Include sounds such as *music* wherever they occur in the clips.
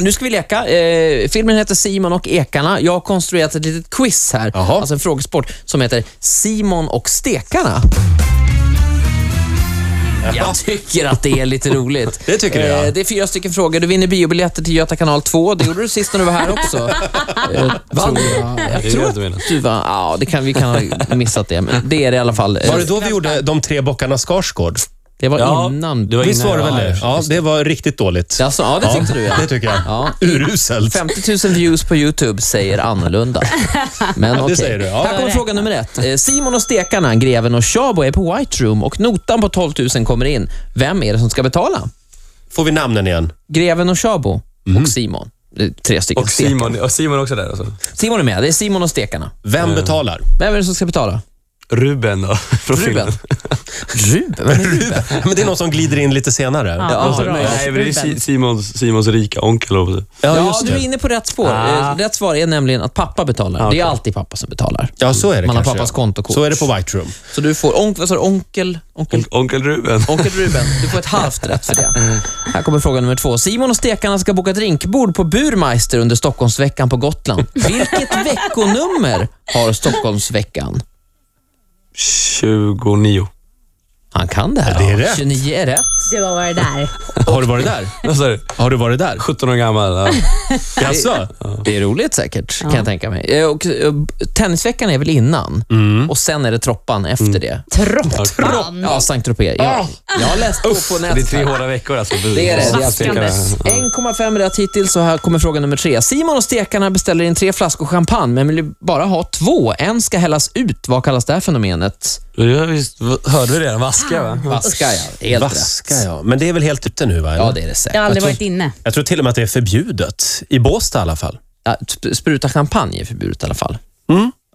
Nu ska vi leka. Eh, filmen heter Simon och ekarna. Jag har konstruerat ett litet quiz här, Jaha. alltså en frågesport, som heter Simon och stekarna. Jag tycker att det är lite roligt. Det tycker du, ja. Eh, Det är fyra stycken frågor. Du vinner biobiljetter till Göta kanal 2. Det gjorde du sist när du var här också. Eh, Vann jag? Det Jag är tror det att du menar. du vann. Ja, det kan, vi kan ha missat det, men det är det i alla fall. Eh, Var det då vi gjorde De tre bockarna Skarsgård? Det var Ja, innan. det var Visst innan var det jag väl det? Ja, det var riktigt dåligt. Alltså, ja, det tyckte du ja. Det tycker jag. Ja. Uruselt. 50 000 views på YouTube säger annorlunda. Men okej. säger du, ja. Här kommer fråga nummer ett. Eh, Simon och stekarna, greven och Tjabo är på White Room och notan på 12 000 kommer in. Vem är det som ska betala? Får vi namnen igen? Greven och Tjabo och Simon. Det är tre stycken. Och stek. Simon, och Simon också där alltså. Simon är med. Det är Simon och stekarna. Vem betalar? Vem är det som ska betala? Ruben då, *laughs* från Ruben. filmen. *laughs* Ruben? *laughs* Vem är Ruben? Men det är någon som glider in lite senare. Alltså, Ja, Ja. bra. möjligt. Nej, men det är Ruben. Si- Simons, Simons rika onkel, höll jag på att säga. Ja, just du är inne på rätt spår. Ah. Eh, Rätt svar är nämligen att pappa betalar. Ah, Det är okej. alltid pappa som betalar. Ja, så är det Man har kanske, pappas ja. kontokort. Så är det på White Room. Så du får onk, vad sa du, onkel, onkel, On- Onkel Ruben. onkel Ruben. Du får ett halvt rätt för det. Här kommer fråga nummer två. Simon och stekarna ska boka drinkbord på Burmeister under Stockholmsveckan på Gotland. Vilket veckonummer har Stockholmsveckan? 29. Han kan det här. Ja, det är rätt. 29 är rätt. Du var det där. Har du varit där? Vad sa du? Har du *laughs* varit där? 17 år gammal. Ja. Jaså? Det är roligt säkert, kan jag tänka mig. Eh, Och, eh, tennisveckan är väl innan och sen är det troppan efter det. Trottan. Ja, Sankt Tropez. Jag, jag har läst på på Det är nätet. tre hårda veckor alltså. Det är det. det är Vaskandes. alltså- 1,5 rätt hittills så här kommer fråga nummer tre. Simon och stekarna beställer in tre flaskor champagne men vill bara ha två. En ska hällas ut. Vad kallas det här fenomenet? Ja, visst, hörde vi det? Vaska va? Vaska, ja. Helt rätt. Vaska, ja. Men det är väl helt ute nu, va? Ja, det är det säkert. Jag har aldrig varit inne. Jag tror till och med att det är förbjudet. I Båstad i alla fall. Ja, sp- Spruta champagne är förbjudet i alla fall.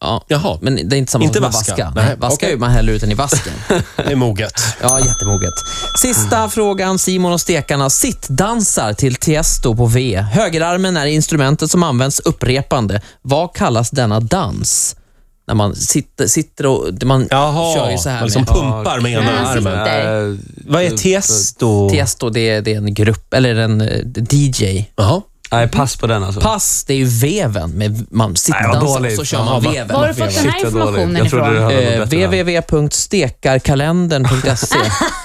Ja. Jaha, Men det är inte samma Mm. Inte som med vaska. vaska. Nej, Nej, vaska okej. är ju man häller ut den i vasken. *laughs* det är moget. Ja, jättemoget. Sista frågan. Simon och stekarna sittdansar till Tiesto på V. Högerarmen är instrumentet som används upprepande. Vad kallas denna dans? När man sitter, sitter och... Man Jaha, kör ju så här man med... liksom pumpar med ena Ja, man sitter. armen. Eh, Vad är Tiesto? Tiesto, det är, det är en grupp, eller en eh, DJ. Jaha. Nej, pass på den alltså. Pass, det är ju veven. Med, man Nej, vad sittdansar och dåligt. så kör Jaha, man vad- veven. Var har du fått den här Shit, vad dåligt. informationen Jag trodde du ifrån? hade Eh, något bättre namn. www.stekarkalendern.se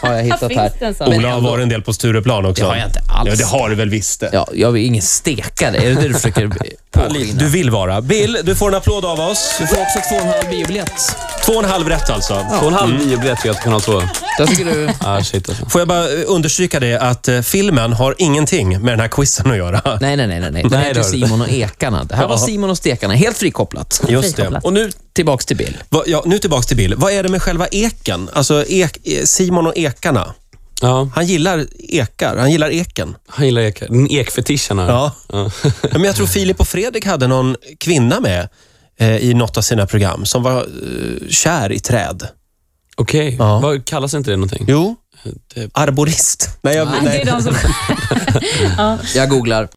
har jag hittat här. Finns det en sån? Men Ola har ändå- varit en del på Stureplan också. Det har jag inte alls. Ja, det har du väl visst det. Ja, jag är ingen stekare. Är det det du försöker påskina? Du vill vara. Bill, du får en applåd av oss. Du får också två och en halv biobiljett. Två och en halv rätt alltså. Två och en halv biobiljett till Göta kanal 2. Där ska du... Ah, shit alltså. Får jag bara eh, understryka det att eh, filmen har ingenting med den här quizen att göra. Nej, nej, nej. nej, nej. Det Nej, här heter det har du. Simon och Ekarna. Det här var Simon och Stekarna. Helt frikopplat. *laughs* Just det. Frikopplat. Och nu tillbaks till Bill. Va, ja, nu tillbaks till Bill. Vad är det med själva eken? Alltså ek, eh, Simon och ekarna. Ja, Han gillar ekar. Han gillar eken. han gillar ekar. Den ekfetischen *laughs* här. Ja. Men jag tror Filip och Fredrik hade någon kvinna med eh, i något av sina program som var eh, kär i träd. *laughs* Okej, Ja. Vad- kallas inte det någonting? Jo. Det- Arborist. Nej, jag, Det är de som... Jag googlar.